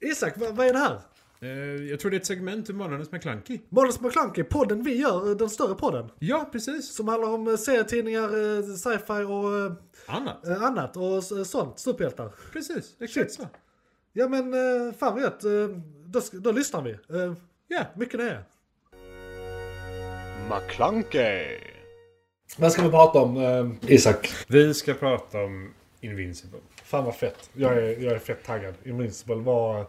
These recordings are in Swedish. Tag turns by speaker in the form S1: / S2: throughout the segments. S1: Isak, vad, vad är det här?
S2: Eh, jag tror det är ett segment ur Månadens McKlunky.
S1: Månads McKlunky, podden vi gör, eh, den större podden.
S2: Ja, precis.
S1: Som handlar om eh, serietidningar, eh, sci-fi och eh,
S2: Annat.
S1: eh, annat och s- sånt, superhjältar.
S2: Precis, exakt
S1: Shit.
S2: så.
S1: Ja men eh, fan vad gött, eh, då, sk- då lyssnar vi. Eh,
S2: Ja.
S1: Mycket nöje.
S3: McClunkey.
S1: Vad ska vi prata om eh, Isak?
S2: Vi ska prata om Invincible.
S1: Fan vad fett. Jag är, jag är fett taggad. Invincible var...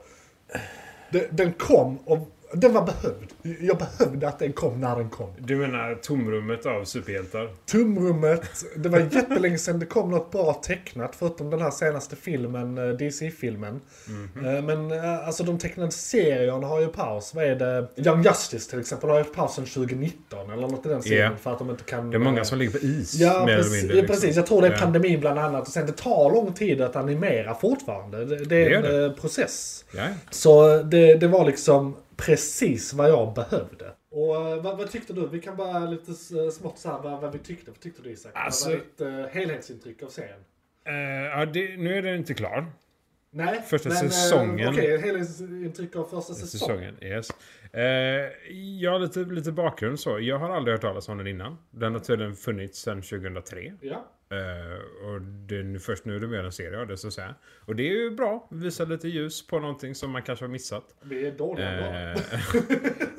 S1: Den, den kom och den var behövd. Jag behövde att den kom när den kom.
S2: Du menar tomrummet av superhjältar?
S1: Tumrummet. Det var jättelänge sedan det kom något bra tecknat förutom den här senaste filmen, eh, DC-filmen.
S2: Mhm.
S1: Eh, Men eh, alltså de tecknade serierna har ju paus. Vad är det? Young Justice till exempel har ju paus sedan 2019 eller något i den stilen
S2: Ja.
S1: för att de inte kan...
S2: Det är många
S1: eh,
S2: som ligger på is,
S1: Ja,
S2: mer eller
S1: precis,
S2: mindre.
S1: ja,
S2: liksom.
S1: precis. Jag tror det är
S2: Ja.
S1: pandemin bland annat. Och sen det tar lång tid att animera fortfarande. Det, det är
S2: Det
S1: en
S2: gör det.
S1: eh, process.
S2: Ja.
S1: Så det, det var liksom precis vad jag behövde. Och eh, vad, vad tyckte du? Vi kan bara lite s- eh, smått så här, vad, vad vi tyckte. Vad tyckte du Isak?
S2: Alltså-
S1: Vad var ditt eh, helhetsintryck av serien?
S2: Eh, ja, det, nu är den inte klar.
S1: Nej,
S2: Första
S1: men, eh,
S2: säsongen.
S1: Okej, helhetsintryck av första säsongen.
S2: Säsongen, yes. Eh, ja, lite, lite bakgrund så. Jag har aldrig hört talas om den innan. Den har tydligen funnits sedan 2003.
S1: Ja.
S2: Eh, och det är nu, först nu det blir en serie av det så att säga. Och det är ju bra. Visar lite ljus på någonting som man kanske har missat.
S1: Vi är dåliga
S2: Eh,
S1: bara.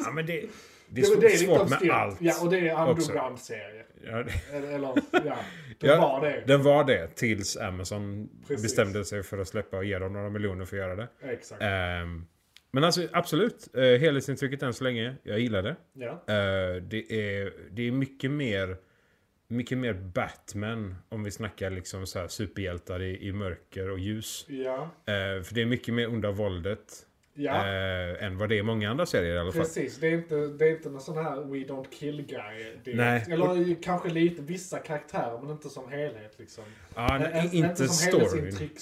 S2: ja, men det, det är,
S1: Det,
S2: svårt,
S1: det är
S2: svårt med
S1: styrkt.
S2: allt.
S1: Ja, och det är
S2: också.
S1: underground-serie.
S2: Ja, det-
S1: Eller, eller ja, det
S2: Ja,
S1: var det.
S2: Den var det tills Amazon
S1: Precis.
S2: bestämde sig för att släppa och ge dem några miljoner för att göra det.
S1: Exakt.
S2: Ehm, men alltså absolut, uh, helhetsintrycket än så länge. Jag gillar det.
S1: Ja.
S2: Eh, det, är, det är mycket mer mycket mer Batman om vi snackar liksom så här superhjältar i, i mörker och ljus.
S1: Ja,
S2: Eh, för det är mycket mer onda våldet
S1: ja
S2: eh, än vad det är i många andra serier i alla fall.
S1: precis. Det är, inte, det är inte någon sån här We Don't Kill Guy direkt.
S2: Nej.
S1: Eller ju kanske lite vissa karaktärer men inte som helhet liksom.
S2: Ja,
S1: Ä-
S2: nej,
S1: ä-
S2: inte storyn.
S1: helhetsintryck.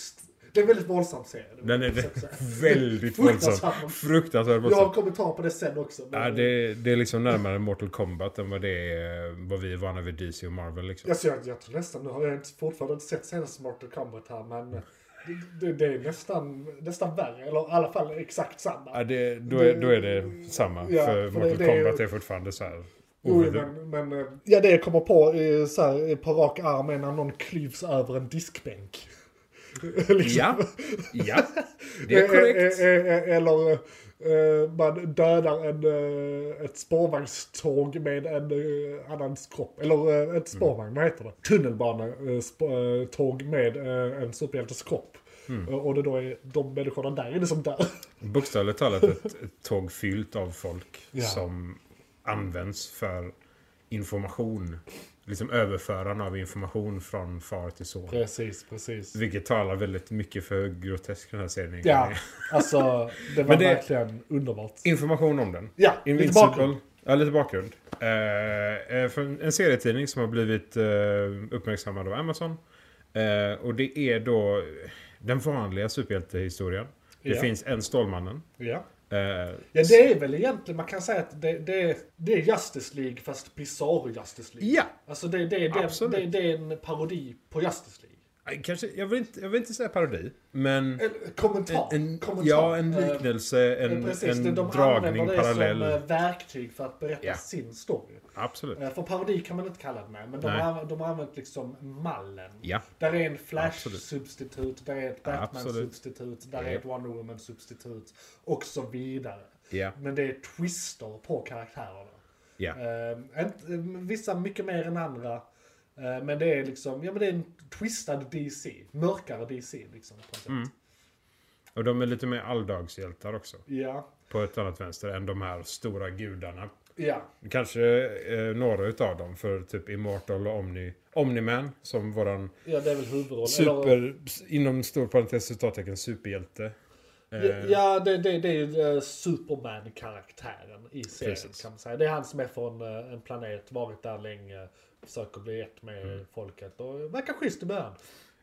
S1: Det är en väldigt våldsam serie.
S2: Den är
S1: måste jag säga.
S2: väldigt våldsam.
S1: Fruktansvärt.
S2: Fruktansvärt
S1: Jag
S2: våldsam.
S1: har kommentar på det sen också. men-
S2: Ja, det, det är liksom närmare Mortal Kombat än vad det är vad vi är vana vid DC och Marvel liksom.
S1: Alltså, jag, jag tror nästan, nu har jag inte- fortfarande inte sett senaste Mortal Kombat här men
S2: Mm.
S1: det- det, det är nästan, nästan värre. Eller i alla fall exakt samma.
S2: Ja, det, då, är, då är det samma.
S1: Ja, för
S2: för
S1: det-
S2: Mortal
S1: det är ju-
S2: Kombat är fortfarande så här.
S1: Jo, men, men eh, ja, det jag kommer på eh, så här, eh, på rak arm är när någon klyvs över en diskbänk. Liksom.
S2: Ja, ja. Det är korrekt.
S1: Eh, eh, eh, Eller eh, man dödar en, eh, ett spårvagnståg med en eh, annans kropp. Eller
S2: Mm.
S1: eh, ett spårvagn, vad heter det? eh, Tunnelbanetåg med eh, en superhjältes kropp.
S2: Mm.
S1: Eh, Och det då är de människorna där inne som dör.
S2: Bokstavligt talat ett, ett tåg fyllt av folk
S1: Ja.
S2: som används för information. Liksom överförande av information från far till son.
S1: Precis, precis.
S2: Vilket talar väldigt mycket för hur grotesk den här serien
S1: Ja,
S2: är.
S1: alltså det var
S2: Men det-
S1: verkligen underbart.
S2: Information om den.
S1: Ja, lite bakgrund.
S2: Invincible. Ja, lite bakgrund. Eh, eh, från en serietidning som har blivit eh, uppmärksammad av Amazon. Eh, och det är då den vanliga superhjältehistorien. Det
S1: Ja.
S2: finns en Stålmannen.
S1: Ja.
S2: Eh,
S1: Ja det är väl egentligen, man kan säga att det, det, det är Justice League fast Bizarro Justice League.
S2: ja.
S1: Alltså det, det, är den,
S2: Absolut.
S1: det, det är en parodi på Justice League.
S2: Eh, Kanske, jag, vill inte, jag vill inte säga parodi, men...
S1: En kommentar.
S2: En, en,
S1: kommentar.
S2: ja, en
S1: Eh,
S2: liknelse, en,
S1: eh, precis,
S2: en
S1: det- de
S2: dragning,
S1: använder
S2: parallell.
S1: det som eh, verktyg för att berätta
S2: Ja.
S1: sin story.
S2: Absolut.
S1: Eh, För parodi kan man inte kalla det med, men de
S2: Nej.
S1: har, de har använt liksom mallen.
S2: Ja.
S1: Där är en
S2: Absolut.
S1: Flash-substitut, där är ett Batman-substitut, där är
S2: Ja.
S1: ett Wonder Woman-substitut och så vidare.
S2: Ja.
S1: Men det är twister på karaktärerna.
S2: Ja.
S1: Eh, inte- eh, vissa mycket mer än andra. Eh, men det är liksom, ja men det är en twistad DC. Mörkare DC liksom. På ett sätt.
S2: Mm. Och de är lite mer alldagshjältar också.
S1: Ja,
S2: På ett annat vänster än de här stora gudarna
S1: ja,
S2: Kanske eh, några utav dem för typ Immortal och Omni, Omni-Man som våran
S1: ja det är väl huvudrollen. Eller,
S2: super, inom stor parentes citattecken, superhjälte. eh.
S1: ja, ja, det, det, det är ju eh, Superman-karaktären i serien
S2: Precis.
S1: kan man säga. Det är han som är från eh, en planet, varit där länge, försöker bli ett med
S2: Mm.
S1: folket och verkar schysst i början.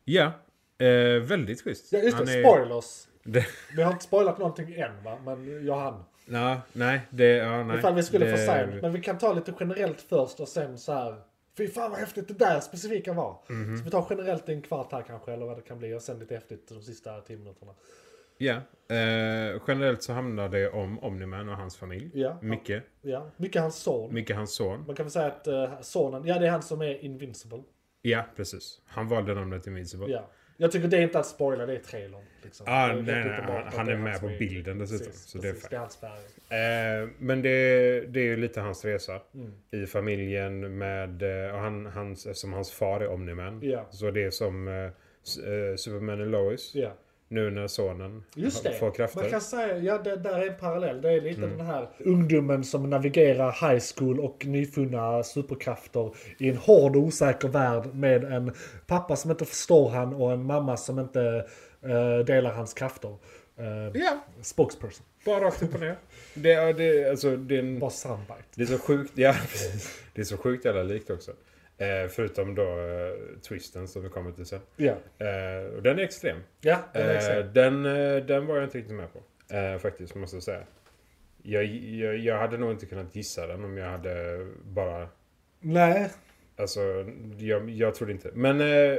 S2: Ja, eh, väldigt schysst.
S1: Ja, just
S2: Han
S1: det,
S2: är-
S1: spoilers.
S2: Det,
S1: Vi har inte spoilat någonting än va, men jag hann.
S2: na, nej, det... Ja, nej.
S1: Ifall vi skulle
S2: det,
S1: få sent. Men vi kan ta lite generellt först och sen så här. Fy fan vad häftigt det där specifika
S2: Mhm.
S1: var. Så vi tar generellt en kvart här kanske eller vad det kan bli och sen lite häftigt de sista tio minuterna.
S2: Ja. Eh, generellt så handlar det om Omniman och hans familj.
S1: Ja.
S2: Micke.
S1: Ja. Mycket hans son.
S2: Micke, hans son.
S1: Man kan väl säga att eh, sonen, ja det är han som är invincible.
S2: Ja, precis. Han valde namnet Invincible.
S1: Ja. Jag tycker det är inte att spoila, det är trailern. Liksom.
S2: Ah,
S1: Det är
S2: nej,
S1: rätt
S2: nej,
S1: uppenbart
S2: han-
S1: att
S2: han
S1: det
S2: är med
S1: hans
S2: på
S1: väg.
S2: bilden dessutom, så det är
S1: precis, det är hans färg.
S2: Eh, men det, det är ju lite hans resa i familjen med, eh, och han, hans, eftersom hans far är Omniman.
S1: Ja.
S2: Så det är som eh, S- eh, Superman och Lois.
S1: Ja.
S2: Nu när sonen
S1: Just
S2: har-
S1: det.
S2: får
S1: Man
S2: krafter. Mm.
S1: kan säga, ja det där är en parallell. Det är lite den här ungdomen som navigerar high school och nyfunna superkrafter i en hård och osäker värld med en pappa som inte förstår han och en mamma som inte eh, delar hans krafter. Eh,
S2: Ja,
S1: spokesperson.
S2: bara rakt upp och ner. Det, är- det, är- alltså, det, är en,
S1: Bara soundbite.
S2: det är så sjukt, ja precis. Det är så sjukt jävla likt också. Eh, förutom då eh, twisten som vi kommer till sen.
S1: Ja,
S2: Eh, och den är extrem.
S1: ja den är
S2: Eh,
S1: exakt.
S2: den, eh, den var jag inte riktigt med på. Eh, faktiskt, måste jag säga. Jag, jag, jag hade nog inte kunnat gissa den om jag hade bara...
S1: Nej,
S2: Alltså, jag, jag trodde inte. Men eh, eh,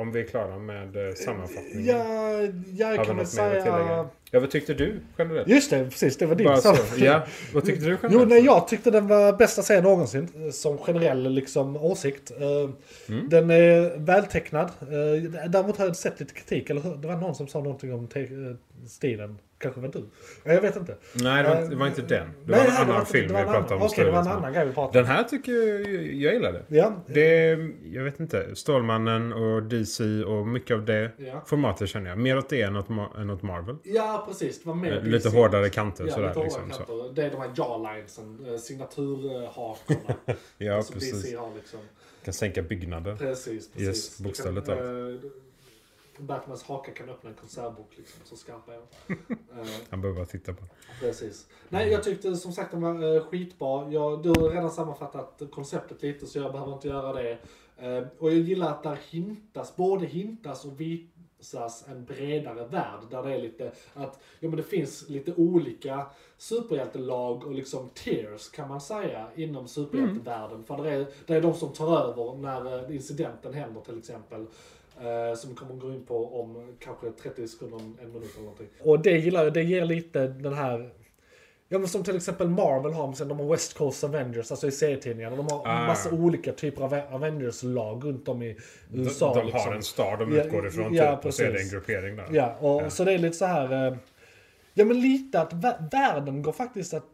S2: om vi är klara med eh, sammanfattningen.
S1: ja, ja jag
S2: Har vi
S1: kan väl
S2: något mer att
S1: säga...
S2: tillägga? Ja, vad tyckte du generellt?
S1: Just det, precis. Det var din
S2: Bara så.
S1: sammanfattning.
S2: Ja, vad tyckte du generellt?
S1: Jo, nej, jag tyckte den var bästa serien någonsin. eh, Som generell liksom, åsikt. Eh,
S2: Mm.
S1: Den är vältecknad. Eh, Däremot har jag sett lite kritik. Eller hur? det var någon som sa någonting om te- eh, stilen. Kanske var du. Ja, Jag vet inte.
S2: Nej, det var, inte- det var inte den. Det var en
S1: nej,
S2: annan
S1: inte-
S2: film
S1: det var
S2: vi
S1: en
S2: pratade om.
S1: annan. Okej, det var en
S2: större.
S1: annan grej vi pratade
S2: Den här tycker jag, jag gillade.
S1: om. Ja.
S2: Det, jag vet inte, Stålmannen och DC och mycket av det
S1: Ja.
S2: formatet känner jag. Mer åt det än åt, Ma- än åt Marvel.
S1: ja, precis. Det var mer
S2: Eh, Lite
S1: DC.
S2: hårdare kanter
S1: Ja,
S2: sådär
S1: lite
S2: liksom.
S1: hårdare
S2: Så.
S1: kanter. Det är de här jawlinesen, eh, signaturhakorna.
S2: Ja,
S1: som
S2: precis.
S1: DC har liksom.
S2: Kan sänka byggnader.
S1: Precis, precis.
S2: Yes,
S1: Du
S2: bokstavligt
S1: kan, eh, Batmans haka kan öppna en konservbok liksom, så skarpa är de. Eh,
S2: Han behöver bara titta på.
S1: Precis. Nej, jag tyckte som sagt den var eh, skitbra. Jag, du har redan sammanfattat konceptet lite så jag behöver inte göra det. Eh, och jag gillar att där hintas, både hintas och visas en bredare värld där det är lite att, ja men det finns lite olika superhjältelag och liksom tears kan man säga inom superhjältevärlden. För det är, det är de som tar över när eh, incidenten händer till exempel. Eh, som vi kommer gå in på om kanske 30 sekunder, en minut eller någonting. Och det gillar jag, det ger lite den här Ja men som till exempel Marvel har, sen de har West Coast Avengers, alltså i serietidningarna. De har
S2: Ah.
S1: massa olika typer av Avengers-lag runt om i
S2: De,
S1: USA.
S2: de
S1: liksom.
S2: har en star de
S1: Ja,
S2: utgår ifrån
S1: ja,
S2: typ, och så är det en
S1: precis.
S2: gruppering där.
S1: Ja, och så det är lite så här... eh, Ja men lite att vä- världen går faktiskt att...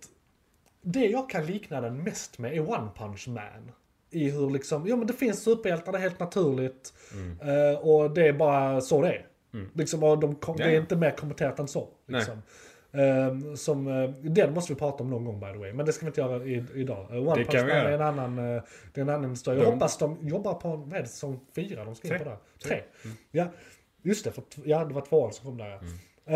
S1: Det jag kan likna den mest med är One Punch Man. I hur liksom, ja men det finns superhjältar, det är helt naturligt.
S2: Mm.
S1: eh, Och det är bara så det är. Liksom, och de kom, Det
S2: Ja,
S1: är
S2: ja.
S1: inte mer kommenterat än så.
S2: Nej.
S1: Liksom. Eh, som, eh, den måste vi prata om någon gång by the way, men det ska vi inte göra i, idag. Eh, One
S2: Det
S1: Punch
S2: kan
S1: Man
S2: vi
S1: är
S2: göra.
S1: en annan, eh, det är en annan historia. Jag
S2: De-
S1: hoppas de jobbar på, vad är det, säsong fyra de ska in
S2: Tre.
S1: på där? Tre. Mm. Ja, just det. För, t- ja, det var tvåan som kom där ja.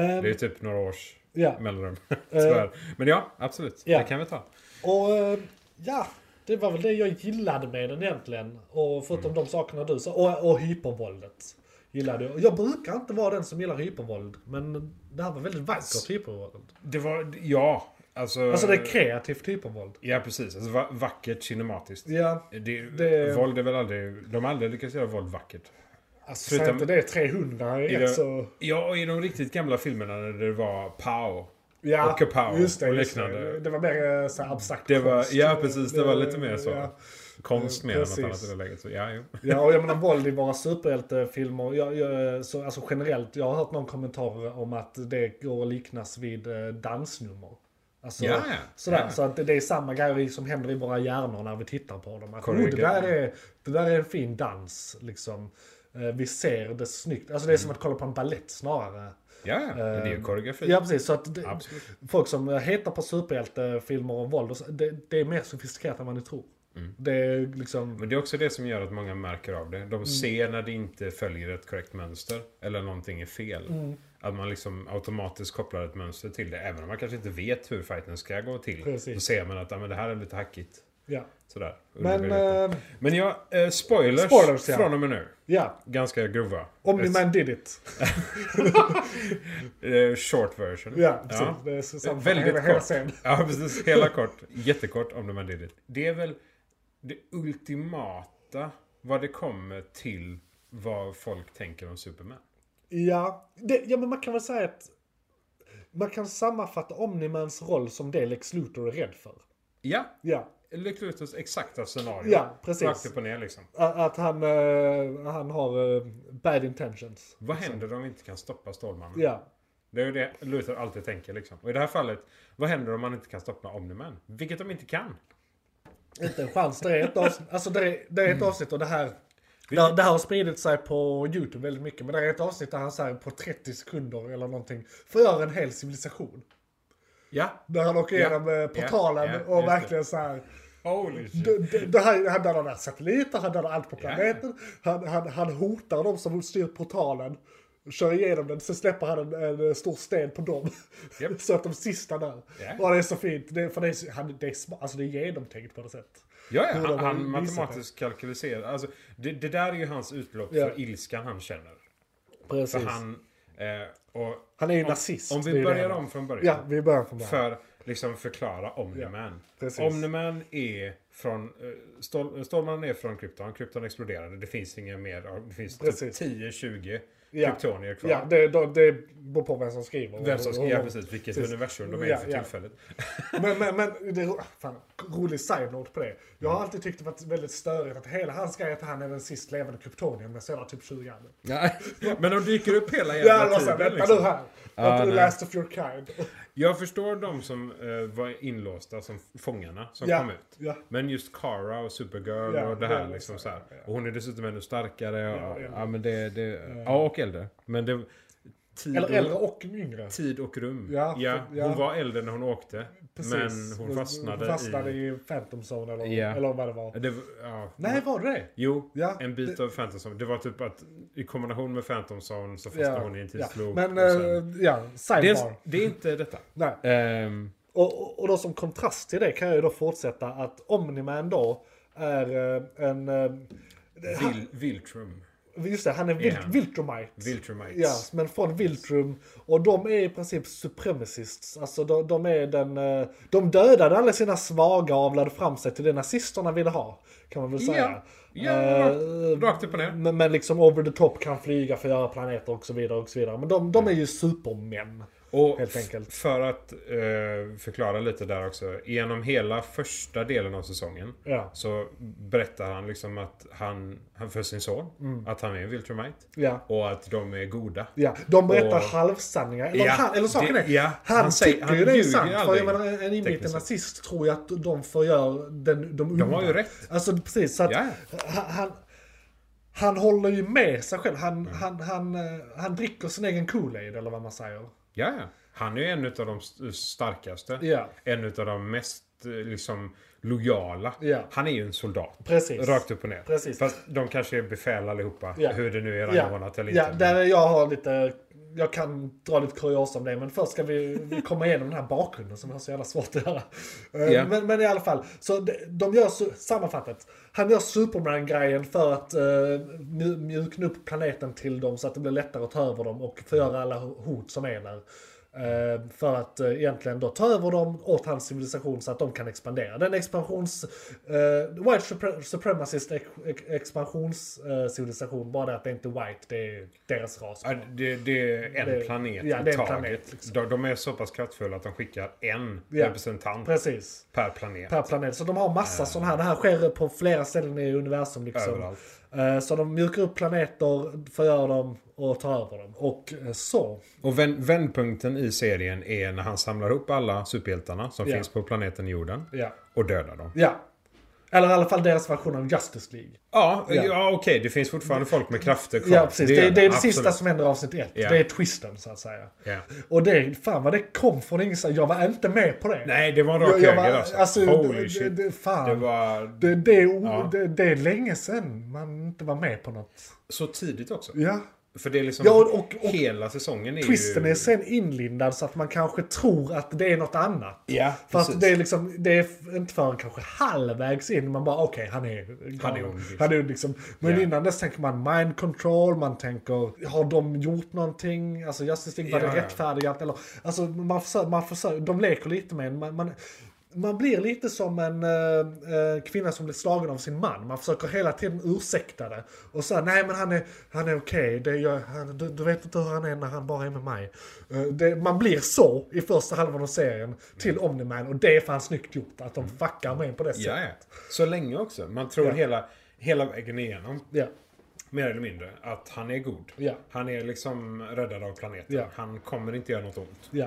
S1: Ehm,
S2: Det är typ några års
S1: ja. Eh.
S2: mellanrum. Tyvärr. Men ja, absolut.
S1: ja.
S2: Det kan vi ta.
S1: Och eh, ja, det var väl det jag gillade med den egentligen. Och förutom
S2: Mm.
S1: de sakerna du sa. Och, och hypervåldet. Gillade jag. Jag brukar inte vara den som gillar hypervåld. Men det här var väldigt
S2: Alltså-
S1: vackert hypervåld.
S2: Det var, ja. Alltså,
S1: Alltså det är kreativt hypervåld.
S2: Ja, precis. Alltså, va- vackert kinematiskt.
S1: Ja,
S2: Det,
S1: Det-
S2: Våld är väl aldrig... De har aldrig lyckats göra våld vackert.
S1: alltså
S2: Förutom-
S1: säg inte det är 300 i
S2: I
S1: ett
S2: det-
S1: så...
S2: Ja, och i de riktigt gamla filmerna när det var pow.
S1: Ja,
S2: och kapow
S1: just det,
S2: och
S1: just
S2: liknande.
S1: det. Det var mer eh, så här abstrakt
S2: Det var,
S1: konst.
S2: ja, precis. Det var lite mer så.
S1: Ja.
S2: Konst mer än något
S1: Precis.
S2: annat i det läget. Så, ja, jo.
S1: Ja, och jag menar våld i våra superhjältefilmer. Jag, jag, så, alltså generellt, jag har hört någon kommentar om att det går att liknas vid eh, dansnummer. Alltså,
S2: Ja, ja.
S1: Sådär,
S2: Ja.
S1: Så att det, det är samma grej som händer i våra hjärnor när vi tittar på dem. Att, oh, det,
S2: Korrekt.
S1: där är, det där är en fin dans. Liksom. Eh, Vi ser det snyggt. Alltså
S2: Mm.
S1: det är som att kolla på en ballett snarare.
S2: Ja, ja. Men det är ju koreografi.
S1: Ehm, Ja precis, så att det,
S2: Absolut.
S1: folk som heter på superhjältefilmer och våld, och så, det, det är mer sofistikerat än vad ni tror.
S2: Mm.
S1: Det är liksom...
S2: Men det är också det som gör att många märker av det.
S1: Mm.
S2: De ser när det inte följer ett korrekt mönster. Eller någonting är fel.
S1: Mm.
S2: Att man liksom automatiskt kopplar ett mönster till det. Även om man kanske inte vet hur fighten ska gå till.
S1: Precis.
S2: Då ser man att ah, men det här är lite hackigt.
S1: Ja.
S2: Sådär.
S1: Men...
S2: Undermedvetet.
S1: eh,
S2: men ja, eh, spoilers,
S1: spoilers, ja.
S2: från och med nu.
S1: ja.
S2: Ganska grova.
S1: Omni-Man did it.
S2: Eh, short version.
S1: Ja, precis. Det är så samma
S2: Väldigt
S1: hela,
S2: kort.
S1: hela scenen.
S2: Ja, precis. Hela kort. Jättekort om de här did it. Det är väl det ultimata vad det kommer till vad folk tänker om Superman.
S1: Ja, det, ja, men man kan väl säga att Man kan sammanfatta Omnimans roll som det Lex Luthor är rädd för.
S2: Ja,
S1: Ja,
S2: Lex Luthors exakta scenario.
S1: ja precis.
S2: Rakt upp och ner liksom.
S1: A- Att han, eh, han har eh, bad intentions.
S2: Vad händer om vi inte kan stoppa Stålmannen?
S1: Ja,
S2: Det är ju det Luthor alltid tänker liksom. Och i det här fallet, vad händer om man inte kan stoppa Omniman? Vilket de inte kan.
S1: inte en chans. Det är ett avsnitt, alltså det är, det
S2: Mm.
S1: är ett avsnitt och det här, det, det här har spridit sig på YouTube väldigt mycket. Men det är ett avsnitt där han så här, på 30 sekunder eller någonting förgör en hel civilisation.
S2: Ja.
S1: Där han åker
S2: Ja,
S1: igenom eh, portalen
S2: ja, just
S1: och
S2: det.
S1: verkligen så här.
S2: Holy shit.
S1: d- d- Det här, han dödar satelliter, han dödar allt på planeten. Han, han, han hotar de som styr portalen. Kör igenom den, sen släpper han en, en stor sten på dem.
S2: Japp.
S1: Så att de sista dör.
S2: Ja.
S1: Och det är så fint. Det, är- för det är, så- han, det, är, sma- alltså det är genomtänkt på något sätt.
S2: Ja, ja
S1: Hur de
S2: han,
S1: har
S2: han
S1: visat
S2: matematiskt kalkyliserar. Alltså, det, det där är ju hans utlopp
S1: Ja.
S2: för ilskan han känner. För
S1: Precis. Han,
S2: han... Eh, och
S1: är ju
S2: om,
S1: nazist.
S2: om
S1: det är
S2: vi
S1: ju
S2: börjar
S1: det.
S2: om från början.
S1: Ja, vi börjar från början.
S2: För liksom förklara Omniman.
S1: precis.
S2: Omniman är från... eh, Stål, Stålmannen är från Krypton. Krypton exploderade. Det finns inga mer. Det finns typ
S1: Precis.
S2: 10-20
S1: Ja.
S2: kryptonier kvar.
S1: Ja, det, det, det beror på vem som skriver.
S2: Vem som ska, ja,
S1: Och-
S2: precis, vilket
S1: Precis.
S2: universum de är
S1: Ja,
S2: för
S1: ja.
S2: tillfället.
S1: Men, men, men det är ro- fan, rolig side-note på det. Jag har alltid tyckt det varit väldigt störigt att hela hans grej är att han är den sist levande kryptonien men så är han typ 20 år.
S2: Men de dyker upp hela
S1: Ja, det
S2: jävla
S1: var såhär,
S2: tiden.
S1: vänta
S2: Liksom.
S1: nu här.
S2: Ja,
S1: Att du
S2: nej.
S1: last of your kind.
S2: Jag förstår de som eh, var inlåsta som fångarna som
S1: Ja,
S2: kom ut.
S1: ja.
S2: Men just Kara och Supergirl
S1: Ja,
S2: och det här
S1: det är
S2: liksom så
S1: så
S2: här. Och hon är dessutom ännu starkare. Och, ja,
S1: och äldre.
S2: men det, det, ja, och äldre. Men det... Tid,
S1: Eller
S2: och,
S1: äldre och yngre.
S2: tid och rum.
S1: Ja,
S2: hon
S1: för- ja.
S2: var äldre när hon åkte. Men hon fastnade,
S1: hon fastnade
S2: i...
S1: i... Phantom Zone eller,
S2: Ja.
S1: eller vad det var.
S2: Det, var- ja,
S1: Nej, var det det?
S2: Jo,
S1: Ja,
S2: en bit av Phantom Zone. Det var typ att i kombination med Phantom Zone så fastnade hon i en
S1: ja.
S2: tidsloop.
S1: Men,
S2: och sen-
S1: eh, ja, sidebar.
S2: det, det är inte detta.
S1: Nej.
S2: Ehm,
S1: Och, och, och då som kontrast till det kan jag ju då fortsätta att Omniman då är eh, en... eh,
S2: Vil, Viltrum.
S1: Just det, han är vil-
S2: Ja.
S1: Viltrumite.
S2: Viltrumites.
S1: Ja, men från Viltrum. Och de är i princip supremacists. Alltså de, de är den... eh, De dödade alla sina svaga och avlade fram sig till det nazisterna ville ha. Kan man väl säga.
S2: Ja,
S1: Eh,
S2: rakt- rakt upp och ner.
S1: Men, men liksom over the top kan flyga, förgöra planeter och så vidare och så vidare. Men de, de är
S2: Mm.
S1: ju supermän.
S2: Och
S1: Helt
S2: f-
S1: enkelt.
S2: för att eh, förklara lite där också. Genom hela första delen av säsongen
S1: Ja.
S2: så berättar han liksom att han, han för sin son, att han är en Viltrumite.
S1: Ja.
S2: Och att de är goda.
S1: Mm. Ja, de berättar
S2: Och-
S1: halvsanningar. Eller,
S2: Ja,
S1: han, eller saken
S2: det-
S1: är,
S2: ja,
S1: han,
S2: han säger-
S1: tycker
S2: han
S1: ju det är
S2: ljuger
S1: sant. För
S2: aldrig,
S1: jag menar, en inbiten
S2: tekniskt sett.
S1: nazist tror ju att de förgör den, de onda.
S2: har ju rätt.
S1: Alltså precis, så att
S2: Ja.
S1: han, han, han håller ju med sig själv.
S2: Mm.
S1: Han, han, han, eh, han dricker sin egen Kool-Aid eller vad man säger.
S2: Ja, ja. Han är ju en av de st- starkaste.
S1: Ja.
S2: En av de mest eh, liksom lojala.
S1: Ja.
S2: Han är ju en soldat.
S1: Precis.
S2: Rakt upp och ner.
S1: Precis.
S2: Fast de kanske är befäl allihopa.
S1: Ja.
S2: Hur det nu är
S1: Ja,
S2: rangordnat eller
S1: ja,
S2: inte.
S1: där jag har lite... Jag kan dra lite kuriosa om det, men först ska vi, vi komma igenom den här bakgrunden som jag har så jävla svårt att göra. Eh,
S2: Ja.
S1: Men, men i alla fall, så de, de gör, su- sammanfattat, han gör Superman-grejen för att eh, mju- mjukna upp planeten till dem så att det blir lättare att ta över dem och förgöra alla ho- hot som är där. Eh, för att eh, egentligen då ta över dem åt hans civilisation så att de kan expandera. Den expansions... Eh, white supre- supremacist ex- expansionscivilisation, eh, civilisation, bara det att det inte är white, det är deras ras.
S2: Ja, det, det är en
S1: Det-
S2: planet
S1: ja, det är en
S2: i taget.
S1: planet, liksom.
S2: de, de är så pass kraftfulla att de skickar en
S1: Ja.
S2: representant
S1: Precis.
S2: per planet.
S1: Per planet. Så de har massa uh. sådana här. Det här sker på flera ställen i universum. Liksom.
S2: Överallt.
S1: Eh, Så de mjukar upp planeter, förgör dem och tar över dem. Och eh, så.
S2: Och vänd, vändpunkten i serien är när han samlar ihop alla superhjältarna som
S1: Ja.
S2: finns på planeten jorden
S1: Ja.
S2: och dödar dem.
S1: ja. Eller i alla fall deras version av Justice League.
S2: Ja, ja.
S1: Ja.
S2: okej. Det finns fortfarande folk med krafter kvar.
S1: Ja, precis. Det, det, är det
S2: absolut.
S1: sista som händer i avsnitt ett.
S2: Ja.
S1: Det är twisten, så att säga.
S2: Ja.
S1: Och det, fan vad det kom från ingenstans. Jag var inte med på det.
S2: Nej, det var en rak
S1: jag, jag
S2: höger
S1: var,
S2: alltså.
S1: alltså,
S2: Holy
S1: det,
S2: shit.
S1: Det, det, fan.
S2: Det
S1: Det,
S2: var
S1: det, är o,
S2: Ja.
S1: det, det är länge sedan man inte var med på något.
S2: så tidigt också.
S1: Ja.
S2: För det är liksom
S1: Ja, och- och- och
S2: hela säsongen är
S1: Twisten
S2: ju...
S1: är sen inlindad så att man kanske tror att det är något annat.
S2: Ja,
S1: Fast
S2: precis.
S1: det är liksom, det är f- inte förrän kanske halvvägs in man bara okej, han är galen.
S2: Han är ond, liksom.
S1: Han är ond, liksom. Men
S2: Ja.
S1: innan dess tänker man mind control, man tänker har de gjort någonting? Alltså Justice League, var
S2: Ja,
S1: det
S2: ja.
S1: rättfärdigat? Eller, alltså man försöker, man försöker, de leker lite med en, man, man man blir lite som en eh, eh, kvinna som blir slagen av sin man. Man försöker hela tiden ursäkta det. Och säga nej men han är, han är okej. Det gör- han- Du, du vet inte hur han är när han bara är med mig. Eh, det, man blir så i första halvan av serien till Omni-Man. Och det är fan snyggt gjort att de fuckar med en på det sättet.
S2: Ja, ja. Alltså, Så länge också. Man tror
S1: Ja.
S2: hela, hela vägen igenom,
S1: Ja.
S2: mer eller mindre, att han är god.
S1: Ja.
S2: Han är liksom räddad av planeten.
S1: Ja.
S2: Han kommer inte göra något ont.
S1: ja.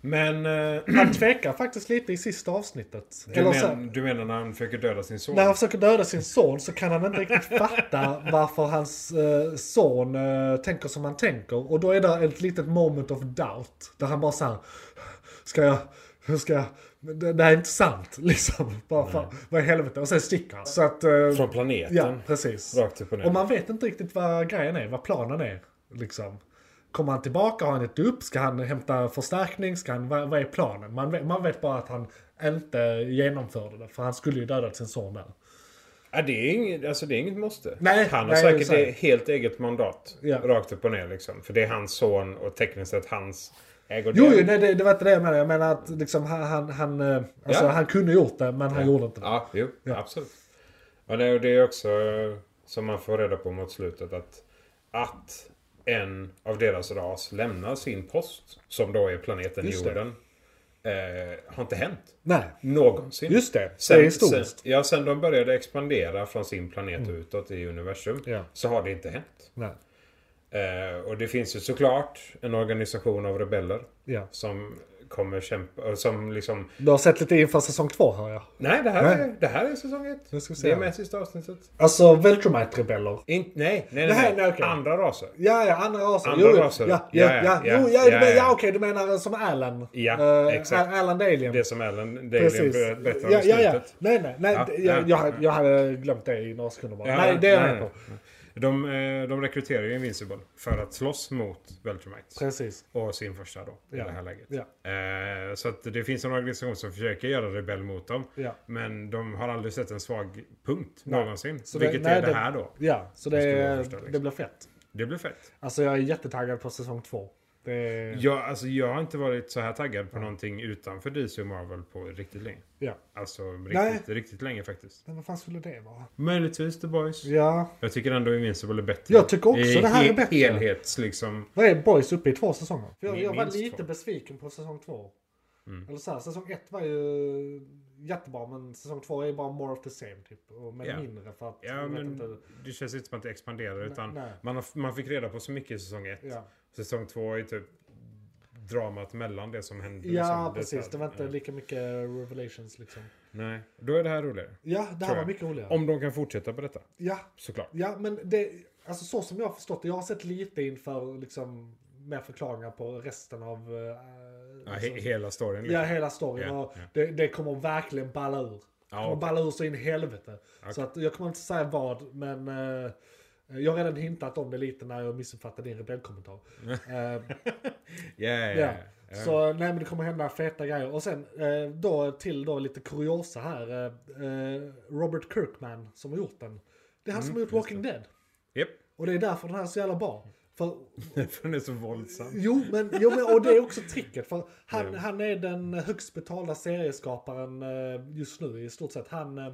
S2: Men... eh,
S1: Han tvekar faktiskt lite i sista avsnittet.
S2: Du,
S1: så här-
S2: men, du menar när han försöker döda sin son?
S1: När han försöker döda sin son så kan han inte riktigt fatta varför hans eh, son eh, tänker som han tänker. Och då är det ett litet moment of doubt. Där han bara såhär, ska jag, hur ska jag, Men det, det här är inte sant liksom. Bara, fan, vad i helvete. Och sen sticker han. Så att, eh,
S2: Från planeten?
S1: ja precis.
S2: Rakt upp och ner.
S1: Och man vet inte riktigt vad grejen är, vad planen är. Liksom. Kommer han tillbaka? Har han ett upp? Ska han hämta förstärkning? Ska han, vad, vad är planen? Man vet, man vet bara att han inte genomförde det. För han skulle ju dödat sin son där.
S2: Ja, det, är inget, alltså, det är inget måste.
S1: Nej,
S2: han har
S1: nej,
S2: säkert
S1: så här.
S2: ett helt eget mandat.
S1: Ja.
S2: Rakt upp och ner liksom. För det är hans son och tekniskt sett hans ägodel.
S1: Jo, jo nej, det, det var inte det jag menade. Jag menar att liksom, han, han, han, eh, alltså,
S2: Ja.
S1: han kunde gjort det, men han gjorde inte det.
S2: Ja, jo, absolut. Och det, och det är också eh, som man får reda på mot slutet att, att en av deras ras lämnar sin post, som då är planeten
S1: Just det.
S2: jorden, eh, har inte hänt.
S1: Nej,
S2: Någonsin.
S1: just det. det är historiskt. Mm.
S2: Sen, ja, sen de började expandera från sin planet utåt i universum
S1: Ja.
S2: så har det inte hänt.
S1: Nej.
S2: Eh, och det finns ju såklart en organisation av rebeller
S1: Ja.
S2: som kommer kämpa, eh, som liksom...
S1: Du har sett lite inför säsong två hör jag.
S2: Nej, det här,
S1: Nej.
S2: Är, det här är säsong ett.
S1: Nu ska vi se
S2: det är
S1: här.
S2: med i sista avsnittet.
S1: Alltså Veltromite-rebeller.
S2: In, nej, nej,
S1: Det
S2: nej.
S1: här-
S2: nej.
S1: nej, okej.
S2: Andra raser.
S1: Ja, ja, andra raser.
S2: Andra
S1: jo, jo.
S2: raser.
S1: Ja, ja, ja. ja, ja, jo, ja, ja, ja,
S2: ja.
S1: okej, du menar eh, som Alan.
S2: Ja,
S1: Eh,
S2: exakt.
S1: Al- Alan the Alien.
S2: Det som Ellen Daly
S1: Precis.
S2: berättar om
S1: Ja,
S2: i
S1: ja, ja.
S2: slutet.
S1: Nej, nej, nej.
S2: Ja,
S1: det-
S2: ja,
S1: jag, jag, hade- jag hade glömt det i några sekunder bara.
S2: Ja,
S1: nej, det är jag
S2: nej,
S1: med på.
S2: nej. De, eh, de rekryterar ju Invincible för att slåss mot Veltramites.
S1: Precis.
S2: Och sin första då, i
S1: Ja.
S2: det här läget.
S1: Ja.
S2: Eh, så att det finns en organisation som försöker göra rebell mot dem.
S1: Ja.
S2: Men de har aldrig sett en svag punkt
S1: Nej.
S2: någonsin.
S1: Så det-
S2: vilket
S1: nej,
S2: är det
S1: det-
S2: här då.
S1: Ja, så
S2: Det
S1: det,
S2: skulle
S1: det,
S2: vara första, liksom.
S1: blir fett.
S2: Det blir fett.
S1: Alltså jag är jättetaggad på säsong två. Det är...
S2: Jag, alltså, jag har inte varit så här taggad på någonting utanför DC och Marvel på riktigt länge.
S1: Ja.
S2: Alltså
S1: Nej.
S2: riktigt, riktigt länge faktiskt.
S1: Men vad fan skulle det vara?
S2: Möjligtvis The Boys.
S1: Ja.
S2: Jag tycker ändå Invincible är bättre.
S1: Jag tycker också det här är
S2: he-
S1: bättre.
S2: Helhets liksom.
S1: Vad är Boys uppe i två säsonger? För jag,
S2: Min-
S1: jag var
S2: minst
S1: lite
S2: två. Mm.
S1: besviken på säsong två. Eller så här, säsong ett var ju jättebra men säsong två är bara more of the same typ. Och men
S2: Ja.
S1: mindre för att...
S2: Ja,
S1: jag vet
S2: men
S1: inte.
S2: det känns inte som att det expanderar. utan
S1: nej.
S2: Man, har, man fick reda på så mycket i säsong ett.
S1: Ja,
S2: Säsong två är typ dramat mellan det som hände.
S1: ja
S2: liksom.
S1: precis. Det var inte
S2: Ja.
S1: lika mycket revelations liksom.
S2: Nej, då är det här roligare.
S1: Ja, det här
S2: Tror jag.
S1: var mycket roligare.
S2: Om de kan fortsätta på detta,
S1: Ja,
S2: såklart.
S1: ja, men det... Alltså så som jag har förstått det. Jag har sett lite inför liksom mer förklaringar på resten av... eh,
S2: Ja,
S1: alltså-
S2: he hela storyn.
S1: Ja,
S2: Liksom.
S1: hela storyn.
S2: Ja,
S1: och
S2: ja.
S1: Det, det kommer verkligen balla ur. Det
S2: Ja,
S1: kommer
S2: okej.
S1: balla ur så in i helvete. Så att, jag kommer inte säga vad, men eh, jag har redan hintat om det lite när jag missuppfattade din rebellkommentar. Eh,
S2: Ja, ja,
S1: ja.
S2: ja. ja.
S1: Så nej men det kommer hända feta grejer. Och sen eh, då till då lite kuriosa här. eh, Eh, Robert Kirkman som har gjort den. Det
S2: Mm,
S1: är han som har gjort Walking Dead.
S2: Japp.
S1: Och det är därför den här är så jävla bra. För
S2: För den är så våldsam.
S1: Jo, men, jo, men och det är också tricket. För han, han är den högst betalda serieskaparen eh, just nu i stort sett. Han, eh,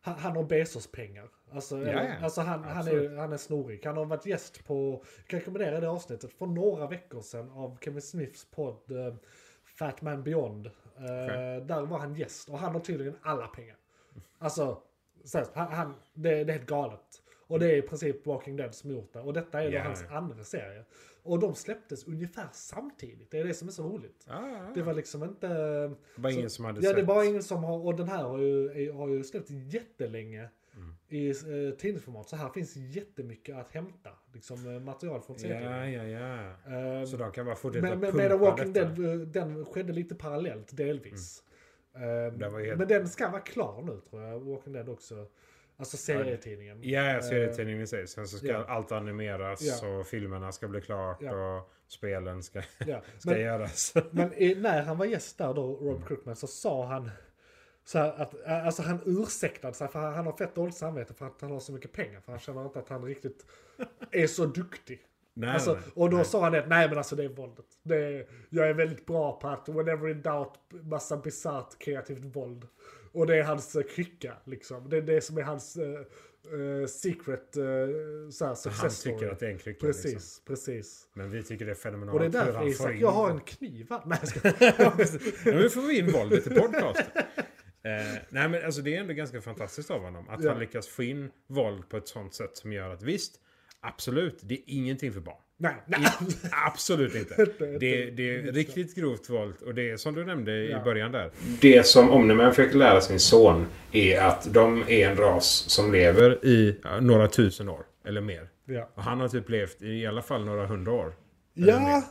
S1: han, han har Bezos-pengar. Alltså,
S2: Ja,
S1: eller-
S2: ja.
S1: alltså han, han, är,
S2: Absolut.
S1: han är snorig. Han har varit gäst på, jag kan rekommendera det avsnittet, för några veckor sedan av Kevin Smiths podd eh, Fat Man Beyond. Eh, Där var han gäst och han har tydligen alla pengar. Alltså, så här, han, han, det, det är helt galet. Och det är i princip Walking Dead som gjort det. Och detta är då
S2: Ja,
S1: hans
S2: ja.
S1: andra serie. Och de släpptes ungefär samtidigt. Det är det som är så roligt.
S2: Ja, ja,
S1: Det
S2: ja.
S1: var liksom inte...
S2: Det var
S1: så-
S2: ingen som hade
S1: Ja, det
S2: sett.
S1: var ingen som har... Och den här har ju, är- har ju släppts jättelänge
S2: Mm.
S1: i eh, tidningsformat. Så här finns jättemycket att hämta. Liksom eh, material från
S2: Ja,
S1: serien.
S2: ja, ja.
S1: Eh,
S2: Så de kan bara fortsätta
S1: men, men,
S2: pumpa
S1: medan Walking
S2: detta.
S1: Dead, eh, den skedde lite parallellt delvis. Eh,
S2: Den Mm. var helt-
S1: Men den ska vara klar nu tror jag, Walking Dead också. Alltså serietidningen.
S2: Ja, ja, serietidningen i sig. Sen så ska
S1: Eh, ja.
S2: allt animeras
S1: Ja.
S2: och filmerna ska bli klart
S1: Ja.
S2: och spelen ska,
S1: Ja,
S2: ska
S1: men-
S2: göras.
S1: Men i, när han var gäst där då, Rob Crookman, så sa han så här att, äh, alltså han ursäktade sig för han, han har fett dåligt samvete för att han har så mycket pengar. För han känner inte att han riktigt är så duktig.
S2: Nej,
S1: Alltså,
S2: nej, nej.
S1: och då sa han det, nej men alltså det är våldet. Det är, jag är väldigt bra på att whenever in doubt, massa bisarrt kreativt våld. Och det är hans eh, krycka liksom. Det är det som är hans eh, eh, secret eh, såhär, success
S2: Han
S1: story.
S2: tycker att det är en krycka.
S1: Precis,
S2: Liksom.
S1: precis.
S2: Men vi tycker det är fenomenalt.
S1: Och det är
S2: hur
S1: därför
S2: han får
S1: Isak,
S2: in-
S1: jag har en kniv här. Nej, jag ska...
S2: Ja, men nu får vi in våldet i podcasten. Eh, nej men alltså det är ändå ganska fantastiskt av honom. Att
S1: Ja.
S2: han lyckas få in våld på ett sånt sätt som gör att visst, absolut, det är ingenting för barn.
S1: nej, nej.
S2: Absolut inte. Det, det är riktigt grovt våld och det är som du nämnde i
S1: Ja.
S2: början där. Det som Omniman fick lära sin son är att de är en ras som lever i ja, några tusen år eller mer.
S1: Ja.
S2: Och han har typ levt i alla fall några hundra år.
S1: Ja,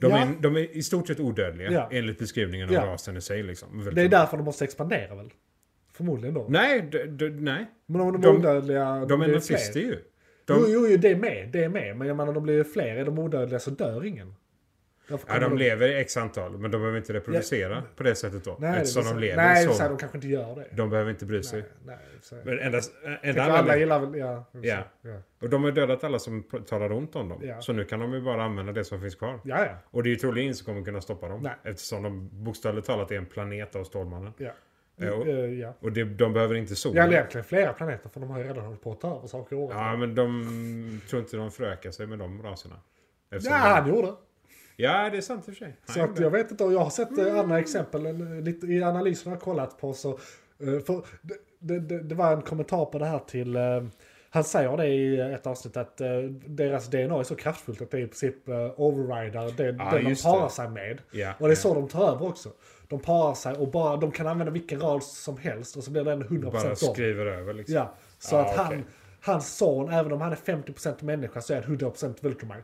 S2: De,
S1: Ja.
S2: är, de är i stort sett odödliga
S1: Ja.
S2: enligt beskrivningen av
S1: Ja.
S2: rasen i sig. Liksom.
S1: det är därför de måste expandera väl? Förmodligen då.
S2: Nej, d- d- nej.
S1: Men om de,
S2: De-
S1: är odödliga...
S2: De är
S1: blir
S2: nazister
S1: fler.
S2: ju.
S1: Jo,
S2: De,
S1: jo, jo, det är med. Det är med. Men jag menar, de blir ju fler. Är de odödliga så dör ingen. Därför
S2: ja,
S1: kommer
S2: de lever i x antal, men de behöver inte reproducera på det sättet då.
S1: Nej,
S2: eftersom
S1: det är
S2: de lever
S1: Nej, så...
S2: så.
S1: de kanske inte gör det.
S2: De behöver inte bry sig.
S1: Nej, nej, så...
S2: Men endast, enda
S1: Tänker alla
S2: anledningen-
S1: gillar väl... Ja. i och för sig.
S2: Ja.
S1: Ja,
S2: Och de har dödat alla som pr- talar ont om dem.
S1: Ja.
S2: Så nu kan de ju bara använda det som finns kvar.
S1: ja. ja.
S2: Och det är ju troligen ingen som kommer kunna stoppa dem.
S1: Nej.
S2: Eftersom de bokstavligt talat är en planet av Stålmannen.
S1: ja.
S2: Eh, och-
S1: Eh, ja.
S2: Och det, de behöver inte sol.
S1: Ja, eller egentligen flera planeter för de har ju redan hållit på att ta över saker i året.
S2: Ja, men de tror inte de förökar sig med de raserna.
S1: Ja,
S2: Eftersom
S1: han
S2: de-
S1: gjorde.
S2: ja, det är sant i och för sig.
S1: Så
S2: Nej,
S1: att
S2: men-
S1: jag vet inte, och jag har sett eh, andra exempel eh, lite, i analyserna jag har kollat på. Så, eh, för, det- det, det, det var en kommentar på det här till, eh, han säger det i ett avsnitt att eh, deras DNA är så kraftfullt att det i princip eh, overrider det,
S2: Ja,
S1: den de
S2: just
S1: parar
S2: det.
S1: sig med.
S2: Ja,
S1: Och det är så de tar över också. De parar sig och bara, de kan använda vilken ras som helst och så blir den 100%
S2: Bara
S1: dem.
S2: skriver över liksom.
S1: Ja, så
S2: Ja,
S1: att han,
S2: okej.
S1: hans son, även om han är 50% människa så är han 100% Vultramite.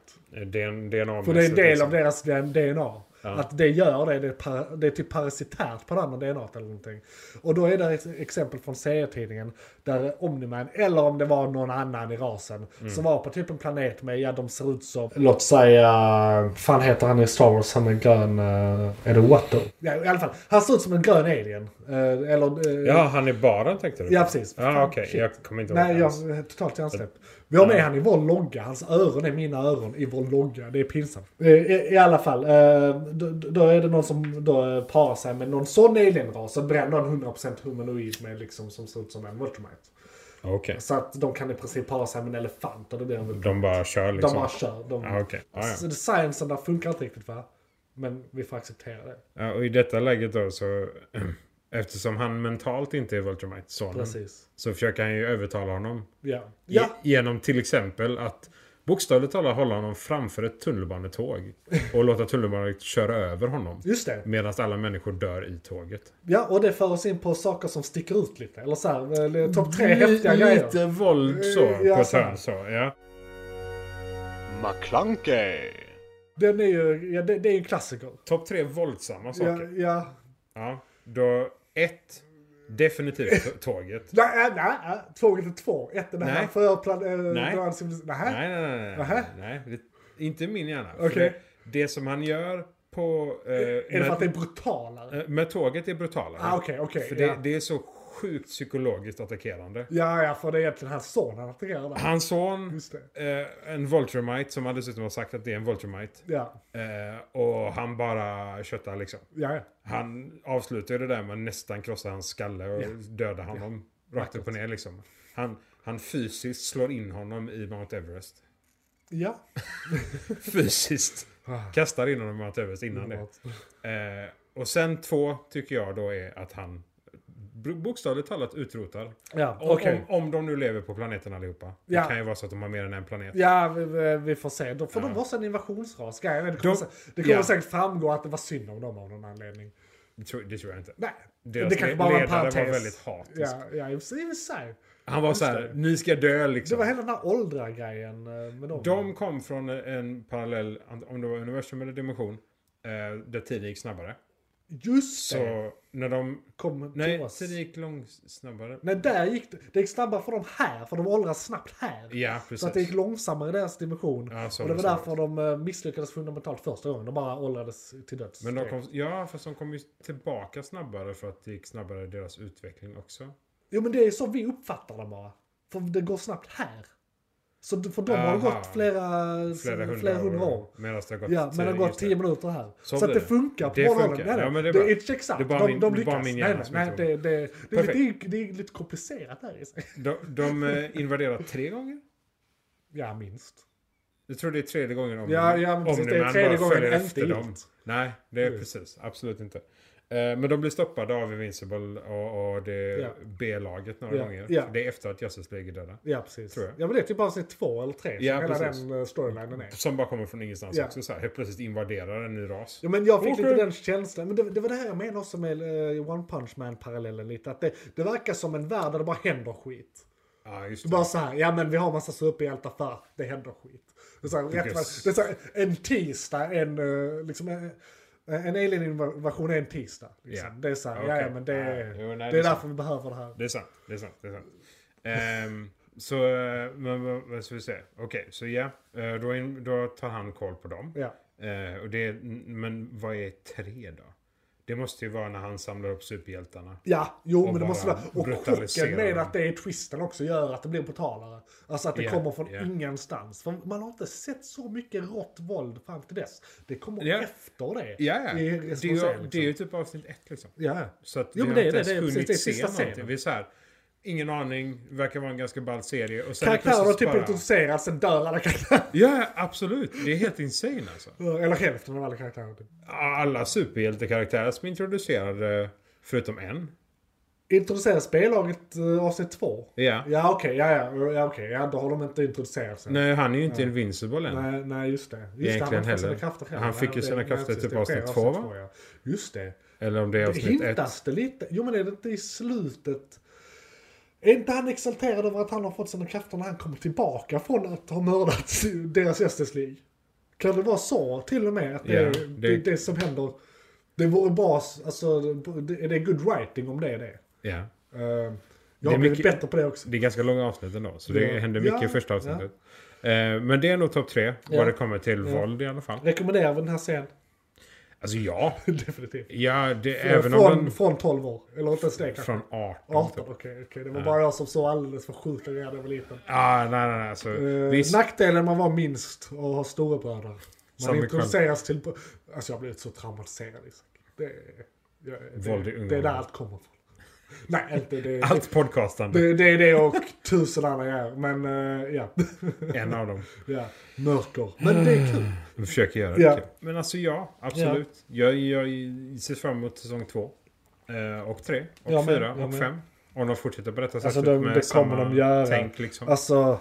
S2: Det är en DNA
S1: För det är en del
S2: liksom.
S1: av deras DNA. Att det gör det, det är, para, det är typ parasitärt på det andra DNA eller någonting. Och då är det ett exempel från serietidningen där Omniman, eller om det var någon annan i rasen, som var på typ en planet med, ja de ser ut som, låt säga, fan heter han i Star Wars, han är grön, eh, är det Watto? Ja i alla fall, han ser ut som en grön alien. Eh, eller, eh,
S2: Ja, han är bara tänkte du?
S1: ja, precis.
S2: Ja,
S1: Fan,
S2: okej.
S1: shit.
S2: Jag kommer inte ihåg
S1: Nej,
S2: det
S1: jag
S2: alls.
S1: totalt hjärnsläpp. Vi har med han i vår logga. Hans öron är mina öron i vår logga. Det är pinsamt. Eh, I, i alla fall, eh, då, då är det någon som då eh, parar sig med någon sån alienras. Så bränner någon 100% humanoid med liksom som ser ut som en Vultramite.
S2: Okej.
S1: Så att de kan i princip para sig med en elefant och det blir en Vultramite.
S2: De bara kör
S1: De
S2: liksom.
S1: bara kör. De...
S2: Ja, okej. Ja, ja.
S1: Så Sciencen där funkar inte riktigt va? Men vi får acceptera det.
S2: Ja, och i detta läget då så... Eftersom han mentalt inte är Vultramite, sonen,
S1: Precis.
S2: så försöker han ju övertala honom.
S1: Ja.
S2: Ge-
S1: Ja,
S2: Genom till exempel att bokstavligt talat hålla honom framför ett tunnelbanetåg. Och låta tunnelbanetåget köra över honom.
S1: just det.
S2: Medan alla människor dör i tåget.
S1: Ja, och det för oss in på saker som sticker ut lite. Eller så här, eller topp tre häftiga
S2: Lite
S1: grejer.
S2: våld så,
S1: Eh, ja,
S2: på ett
S1: så här.
S2: hörn så. Ja.
S3: McClunkey,
S1: Den är ju, ja, det, det är ju en klassiker.
S2: Topp tre våldsamma saker.
S1: Ja, ja.
S2: Ja, då ett. Definitivt t- tåget.
S1: Nej, äh, nej, nej. Tåget är två. Ett är det här
S2: Nej.
S1: förplan... Äh,
S2: Nej.
S1: Nej.
S2: Nej, nej, nej.
S1: Nähä?
S2: nej, nej det, inte i min hjärna. För
S1: Okej.
S2: Det, det som han gör på... Eh,
S1: Är det för att det är
S2: med,
S1: brutalare?
S2: eh, med tåget är brutalare.
S1: Ah, okej, okej,
S2: För
S1: ja.
S2: det, det är så sjukt psykologiskt attackerande.
S1: Ja, ja, för det är egentligen hans son han attackerar där.
S2: Hans son,
S1: Just det.
S2: eh, en Voltramite, som han dessutom har sagt att det är en Voltramite.
S1: Ja,
S2: Eh, och han bara köttar liksom.
S1: ja, ja.
S2: Han avslutar ju det där med att nästan krossa hans skalle och döda honom. Rakt upp och ner liksom. Han, han fysiskt slår in honom i Mount Everest.
S1: Ja.
S2: Fysiskt. Kastar in honom i Mount Everest innan Ah, det.
S1: Underbart.
S2: Eh, och sen två tycker jag då är att han b- bokstavligt talat utrotar.
S1: Ja,
S2: Om,
S1: okej.
S2: om, om de nu lever på planeten allihopa.
S1: Ja.
S2: Det kan ju vara så att de har mer än en planet.
S1: Ja, vi, vi- vi får se. Då får de vara en invasionsras. Grejen är, Det kommer,
S2: De-
S1: sä- det kommer
S2: ja.
S1: säkert framgå att det var synd om dem av någon anledning.
S2: Det, tror, det tror jag inte.
S1: Nej,
S2: Deras
S1: det kanske
S2: le-
S1: bara var en
S2: ledare var
S1: parentes.
S2: väldigt hatisk.
S1: Ja, ja i och för sig.
S2: Han var så här, ni ska dö
S1: Det
S2: liksom.
S1: var hela den här åldra-grejen eh, med dem.
S2: De kom från en parallell, om det var universum eller dimension, eh, där tiden gick snabbare.
S1: Just det.
S2: Så när de...
S1: Kom till
S2: Nej,
S1: oss.
S2: tiden gick långsammare.
S1: Nej, där gick det. Det gick snabbare för dem här, för de åldras snabbt här.
S2: Ja,
S1: Så att det gick
S2: precis.
S1: långsammare i deras dimension.
S2: Ja, så
S1: och det var
S2: var det.
S1: därför de eh, misslyckades fundamentalt första gången. De bara åldrades till döds.
S2: Men de kom, ja, fast de kom ju tillbaka snabbare för att det gick snabbare i deras utveckling också.
S1: Jo men det är så vi uppfattar det bara. För det går snabbt här. Så för dem har det
S2: Aha.
S1: gått flera,
S2: Flera hundra,
S1: år.
S2: Medan det har gått
S1: Ja, men det har
S2: tio-
S1: gått
S2: just det.
S1: 10 minuter här.
S2: Så
S1: Så,
S2: blir
S1: att det
S2: det.
S1: funkar
S2: Det
S1: på rollen.
S2: funkar.
S1: Nej, nej.
S2: Ja, men det
S1: det
S2: är
S1: är,
S2: bra.
S1: inte exakt.
S2: Det är bara
S1: de,
S2: min-
S1: de
S2: det är
S1: lyckas.
S2: bara min hjärna
S1: nej,
S2: som
S1: nej,
S2: inte
S1: nej, det, det, det, är
S2: Perfekt.
S1: lite, det är lite komplicerat där i sig.
S2: De, de eh, invaderar tre gånger?
S1: Ja, minst.
S2: Jag tror det är tredje gången om
S1: Ja, ja, men precis, det är
S2: Omni-Man
S1: tredje
S2: bara
S1: gången
S2: följer
S1: inte
S2: efter dem.
S1: gilt.
S2: Nej, det är
S1: Mm.
S2: precis. Absolut inte. Eh, Men de blir stoppade av Invincible och, och det
S1: Ja.
S2: B-laget några
S1: Ja,
S2: gånger.
S1: ja.
S2: Det är efter att Justice League är döda.
S1: Ja, precis.
S2: Tror jag.
S1: Ja, men det är typ avsnitt två eller tre som
S2: Ja,
S1: hela
S2: precis.
S1: den eh, storylinen är.
S2: Som bara kommer från ingenstans
S1: Ja.
S2: också. Så här, helt plötsligt invaderar en ny ras.
S1: Ja, men jag fick
S2: Okej.
S1: lite den känslan. Men det, det var det här jag menade också med eh, One Punch Man-parallellen lite. Att det, det verkar som en värld där det bara händer skit.
S2: Ja, just
S1: Så
S2: det.
S1: bara så här, ja men vi har massa superhjältar för att det händer skit. Det är så här, rätt,
S2: Yes.
S1: det är så här, en tisdag, en, eh, liksom, en, en alien-invasion är en tisdag. Liksom.
S2: Ja.
S1: Det är så här, ja,
S2: Okej.
S1: ja men det,
S2: Ja, jo, nej,
S1: det är
S2: det är
S1: därför vi behöver det här.
S2: Det är sant. Det är sant. Det är sant. Ehm, så, eh, men vad- vad ska vi säga? Okej, så ja. eh, Då, in, då tar han koll på dem.
S1: Ja.
S2: Eh, och det, men vad är tre då? Det måste ju vara när han samlar upp superhjältarna.
S1: Ja, jo
S2: Och
S1: men det måste
S2: bara
S1: vara. Och
S2: brutalisera
S1: chocken med
S2: dem.
S1: att det är twisten också gör att det blir brutalare. Alltså att det
S2: Ja,
S1: kommer från
S2: ja.
S1: ingenstans. För man har inte sett så mycket rått våld fram till dess. Det kommer
S2: Ja.
S1: efter det.
S2: Ja, ja. Det,
S1: I
S2: är
S1: recension,
S2: ju- det är
S1: liksom.
S2: ju typ avsnitt ett liksom.
S1: Ja.
S2: Så att
S1: Jo, men
S2: vi har
S1: det är
S2: inte
S1: det,
S2: ens
S1: det är precis,
S2: hunnit
S1: det är
S2: se
S1: sista
S2: någonting.
S1: scenen.
S2: Vi är så här, ingen aning, verkar vara en ganska ball serie. Och sen
S1: Karaktärer har
S2: plötsligt
S1: typ
S2: bara-
S1: introducerats, sen dör alla karaktärer.
S2: Ja, absolut. Det är helt insane alltså.
S1: Eller hälften av alla karaktärer. typ.
S2: Alla superhjältekaraktärer som är introducerade, förutom en.
S1: Introduceras B-laget eh, avsnitt två?
S2: Ja.
S1: Ja okej, ja ja, ja okej, ja då har de inte introducerats än.
S2: Nej, han är ju inte invincible än.
S1: Alltså. Nej, nej, just det. Just det, han
S2: Egentligen
S1: har inte fått sina
S2: heller.
S1: krafter heller.
S2: Han
S1: Nej,
S2: fick ju
S1: det-
S2: sina
S1: nej,
S2: krafter
S1: precis,
S2: typ
S1: det sker
S2: avsnitt
S1: avsnitt
S2: två, va?
S1: två, ja. Just det.
S2: Eller om det är
S1: Det
S2: avsnitt ett.
S1: hintas det lite? Jo men är det inte i slutet? Är inte han exalterad över att han har fått sina krafter när han kommer tillbaka från att ha mördat deras Justice League? Kan det vara så till och med? Att det,
S2: Ja,
S1: är-
S2: det-
S1: det... är det som händer. Det vore bra, alltså, det, är det good writing om det är det?
S2: Ja.
S1: Eh, jag har blivit
S2: mycket-
S1: bättre på det också.
S2: Det är ganska långa avsnitt ändå, så det
S1: Ja.
S2: händer mycket
S1: Ja,
S2: i första avsnittet. Eh, Men det är nog topp tre,
S1: Ja.
S2: vad det kommer till
S1: Ja.
S2: våld i alla fall.
S1: Rekommenderar vi den här scenen?
S2: Alltså ja,
S1: Definitivt.
S2: ja det, även
S1: från,
S2: om
S1: från 12 år, eller inte ens det
S2: den...
S1: kanske.
S2: Från typ. 18.
S1: 18, okej. okej. Det var bara jag som såg alldeles för sjukt när jag var liten.
S2: Ah, nej, nej, nej. Alltså,
S1: Eh,
S2: visst,
S1: Nackdelen man var minst och ha storebröder. Man
S2: Som vi
S1: introduceras till... Alltså jag har blivit så traumatiserad Isak. Det, är- jag,
S2: Våld i
S1: det,
S2: unga
S1: det är
S2: år.
S1: där allt kommer ifrån. Nej, inte det.
S2: allt podcastande.
S1: Det, det är det och tusen andra grejer. Men eh, ja.
S2: En av dem.
S1: ja. Mörker. Men det är kul.
S2: Vi försöker göra det.
S1: Ja.
S2: kul. Men alltså ja, absolut. Jag, jag ser fram emot säsong två. Eh, och tre. Och
S1: Jag med,
S2: fyra.
S1: jag
S2: och
S1: med.
S2: fem. Om de fortsätter på detta sättet
S1: Alltså, de-
S2: med
S1: det
S2: samma
S1: kommer de göra.
S2: tänk liksom.
S1: Alltså.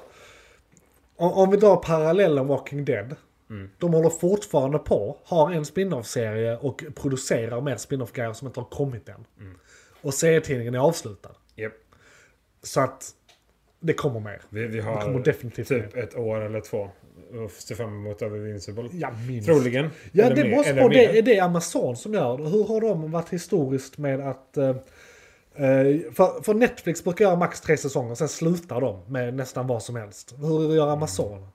S1: Om, om vi drar parallellen Walking Dead.
S2: Mm.
S1: De håller fortfarande på, har en spin-off-serie och producerar mer spin-off-grejer som inte har kommit än.
S2: Mm.
S1: Och serietidningen är avslutad.
S2: Japp.
S1: Så att det kommer mer.
S2: Vi, vi
S1: Det kommer
S2: har
S1: definitivt
S2: typ
S1: mer.
S2: ett år eller två att se fram emot över Invincible.
S1: Ja, minst.
S2: Troligen.
S1: Ja,
S2: Eller
S1: det
S2: mer-
S1: måste
S2: eller
S1: vara
S2: mer.
S1: det, är det Amazon som gör det. Hur har de varit historiskt med att... eh, eh, För, för Netflix brukar göra max tre säsonger, sen slutar de med nästan vad som helst. Hur gör Amazon?
S2: Mm.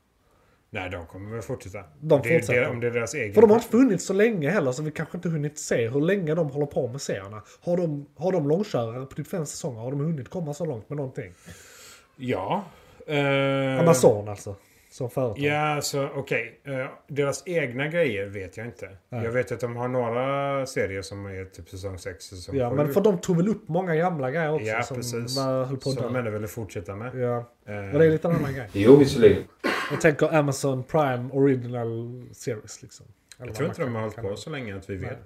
S2: Nej, de kommer väl fortsätta.
S1: De
S2: det, är- Det,
S1: fortsätter.
S2: om det är deras egen...
S1: För de har inte funnits så länge heller, så vi kanske inte hunnit se hur länge de håller på med serierna. Har de, har de långkörare på typ fem säsonger? Har de hunnit komma så långt med någonting?
S2: Ja. Eh,
S1: Amazon alltså, som företag.
S2: Ja, så okej. Eh, Deras egna grejer vet jag inte. Jag vet att de har några serier som är typ säsong 6 och säsong
S1: Ja,
S2: sju.
S1: men för de tog väl upp många gamla grejer också
S2: Ja,
S1: som
S2: precis.
S1: var, höll på att
S2: Som de
S1: dö.
S2: ändå ville fortsätta med.
S1: Ja.
S2: Eh,
S1: Och det är lite en annan grej.
S3: Jo, visserligen.
S1: Jag tänker Amazon Prime Original Series liksom. Eller
S2: jag
S1: vad
S2: tror
S1: man
S2: inte de har
S1: kan-
S2: hållit
S1: kan-
S2: på så länge att vi vet.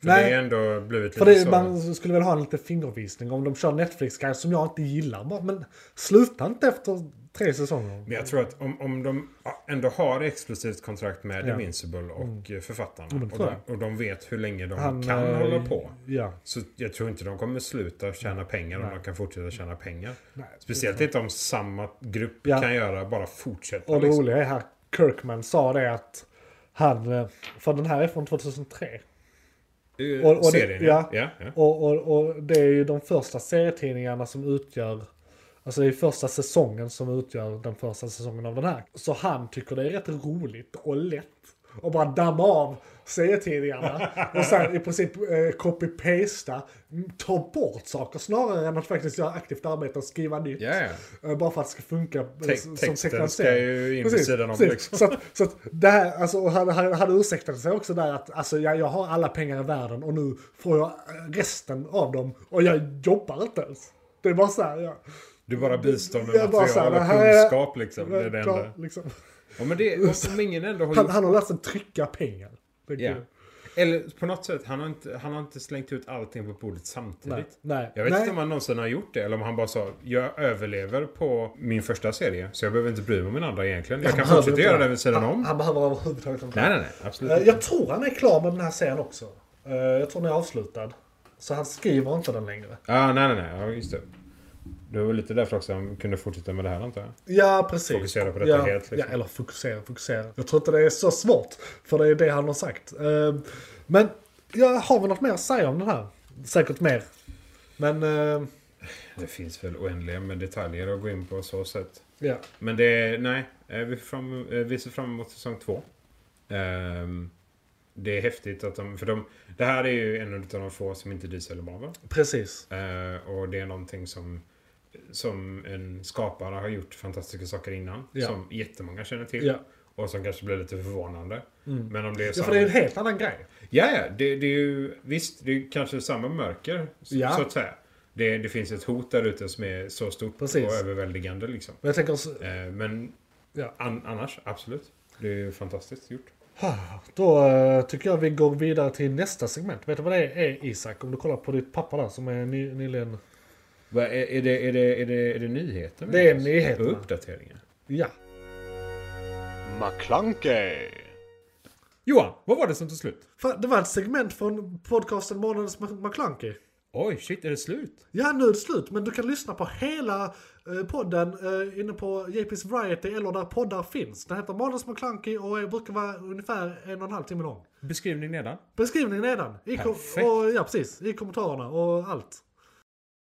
S2: För
S1: Nej.
S2: det är ändå blivit
S1: För
S2: lite
S1: det,
S2: så.
S1: man skulle väl ha en liten fingervisning om de kör Netflix-grejer som jag inte gillar. Bara, Men sluta inte efter tre säsonger.
S2: Men jag tror att om, om de ändå har exklusivt kontrakt med
S1: Ja. Mm.
S2: Invincible och eh, författarna.
S1: men det
S2: och,
S1: tror
S2: de, och de vet hur länge de
S1: Han,
S2: kan
S1: eh,
S2: hålla på.
S1: Ja.
S2: Så jag tror inte de kommer sluta tjäna pengar om
S1: Nej.
S2: de kan fortsätta tjäna pengar.
S1: Nej,
S2: Speciellt inte om samma grupp
S1: Ja.
S2: kan göra, bara fortsätta.
S1: Och det
S2: liksom.
S1: roliga är här, Kirkman sa det att han, eh, för den här är från 2003.
S2: Eh,
S1: och- och det-
S2: Serien, ja.
S1: ja.
S2: ja, ja.
S1: Och, och, och det är ju de första serietidningarna som utgör Alltså det är första säsongen som utgör den första säsongen av den här. Så han tycker det är rätt roligt och lätt att bara damma av serietidningarna. Och sen i princip eh, copy-pasta. Mm, Ta bort saker snarare än att faktiskt göra aktivt arbete och skriva nytt.
S2: Ja, ja.
S1: Eh, Bara för att det ska funka eh,
S2: Te-
S1: som
S2: texten ska
S1: sekvensering.
S2: ju in vid
S1: Precis,
S2: sidan om.
S1: precis.
S2: Liksom.
S1: Så, att, så att det här, alltså, och han, han, han ursäktade sig också där att alltså, jag, jag har alla pengar i världen och nu får jag eh, resten av dem och jag jobbar inte ens. Det är bara så här, ja.
S2: Du bara bistår med
S1: Jag bara så här,
S2: material och
S1: det här är-
S2: kunskap liksom. Det är det enda.
S1: liksom.
S2: Ja, men det, och som ingen ändå har
S1: han,
S2: gjort.
S1: han har lärt sig trycka pengar. Det är
S2: Ja.
S1: kul.
S2: Eller på något sätt, han har, inte, han har inte slängt ut allting på bordet samtidigt.
S1: Nej. Nej.
S2: Jag vet
S1: Nej.
S2: inte om han någonsin har gjort det eller om han bara sa jag överlever på min första serie så jag behöver inte bry mig om min andra egentligen. Jag kan
S1: behöver
S2: fortsätta
S1: inte
S2: göra
S1: det.
S2: det vid sidan
S1: Han,
S2: om.
S1: han behöver överhuvudtaget inte.
S2: Nej, nej, nej. Absolut
S1: Eh,
S2: inte.
S1: Jag tror han är klar med den här serien också. Eh, Jag tror den är avslutad. Så han skriver inte den längre.
S2: Ja, nej, nej, nej. Ja, just det. Det var lite därför också han kunde fortsätta med det här antar jag.
S1: Ja, precis.
S2: Fokusera på detta
S1: Typ. ja,
S2: helt, liksom.
S1: Ja, eller fokusera, fokusera. Jag tror inte det är så svårt. För det är det han har sagt. Eh, Men, ja, har vi något mer att säga om den här? Säkert mer. Men, eh,
S2: Det finns väl oändliga med detaljer att gå in på så sätt.
S1: ja.
S2: Men det är, nej. eh, Vi, fram, eh, vi ser fram emot säsong två. Ehm, det är häftigt att de, för de, det här är ju en av de få som inte DC eller Marvel.
S1: Precis.
S2: Eh, och det är någonting som, som en skapare har gjort fantastiska saker innan.
S1: Ja.
S2: Som jättemånga känner till.
S1: Ja. Mm.
S2: Och som kanske blir lite förvånande. Men om det är
S1: ja,
S2: samma...
S1: för det är en helt annan grej.
S2: Ja, ja. Det, det är ju... Visst, det är kanske samma mörker. Så,
S1: Ja.
S2: så att säga. Det, det finns ett hot där ute som är så stort
S1: Precis.
S2: och överväldigande liksom.
S1: Men jag tänker så,
S2: Eh, men
S1: Ja.
S2: an, annars, absolut. Det är ju fantastiskt gjort.
S1: Då eh, tycker jag vi går vidare till nästa segment. Vet du vad det är Isak? Om du kollar på ditt papper där som är ny, nyligen...
S2: Va, är, är, det, är, det, är, det, är det nyheter?
S1: Det är nyheterna.
S2: Uppdateringar.
S1: Ja.
S3: McClunkey.
S2: Johan, vad var det som tog slut?
S1: Fan, det var ett segment från podcasten Månadens Mc- McClunky.
S2: Oj, shit, är det slut?
S1: Ja, nu är det slut. Men du kan lyssna på hela eh, podden eh, inne på JP's Variety eller där poddar finns. Den heter Månadens McClunky och är- brukar vara ungefär en och en halv timme lång.
S2: Beskrivning nedan.
S1: Beskrivningen nedan. I kom-
S2: Perfekt.
S1: och, ja, precis. I kommentarerna och allt.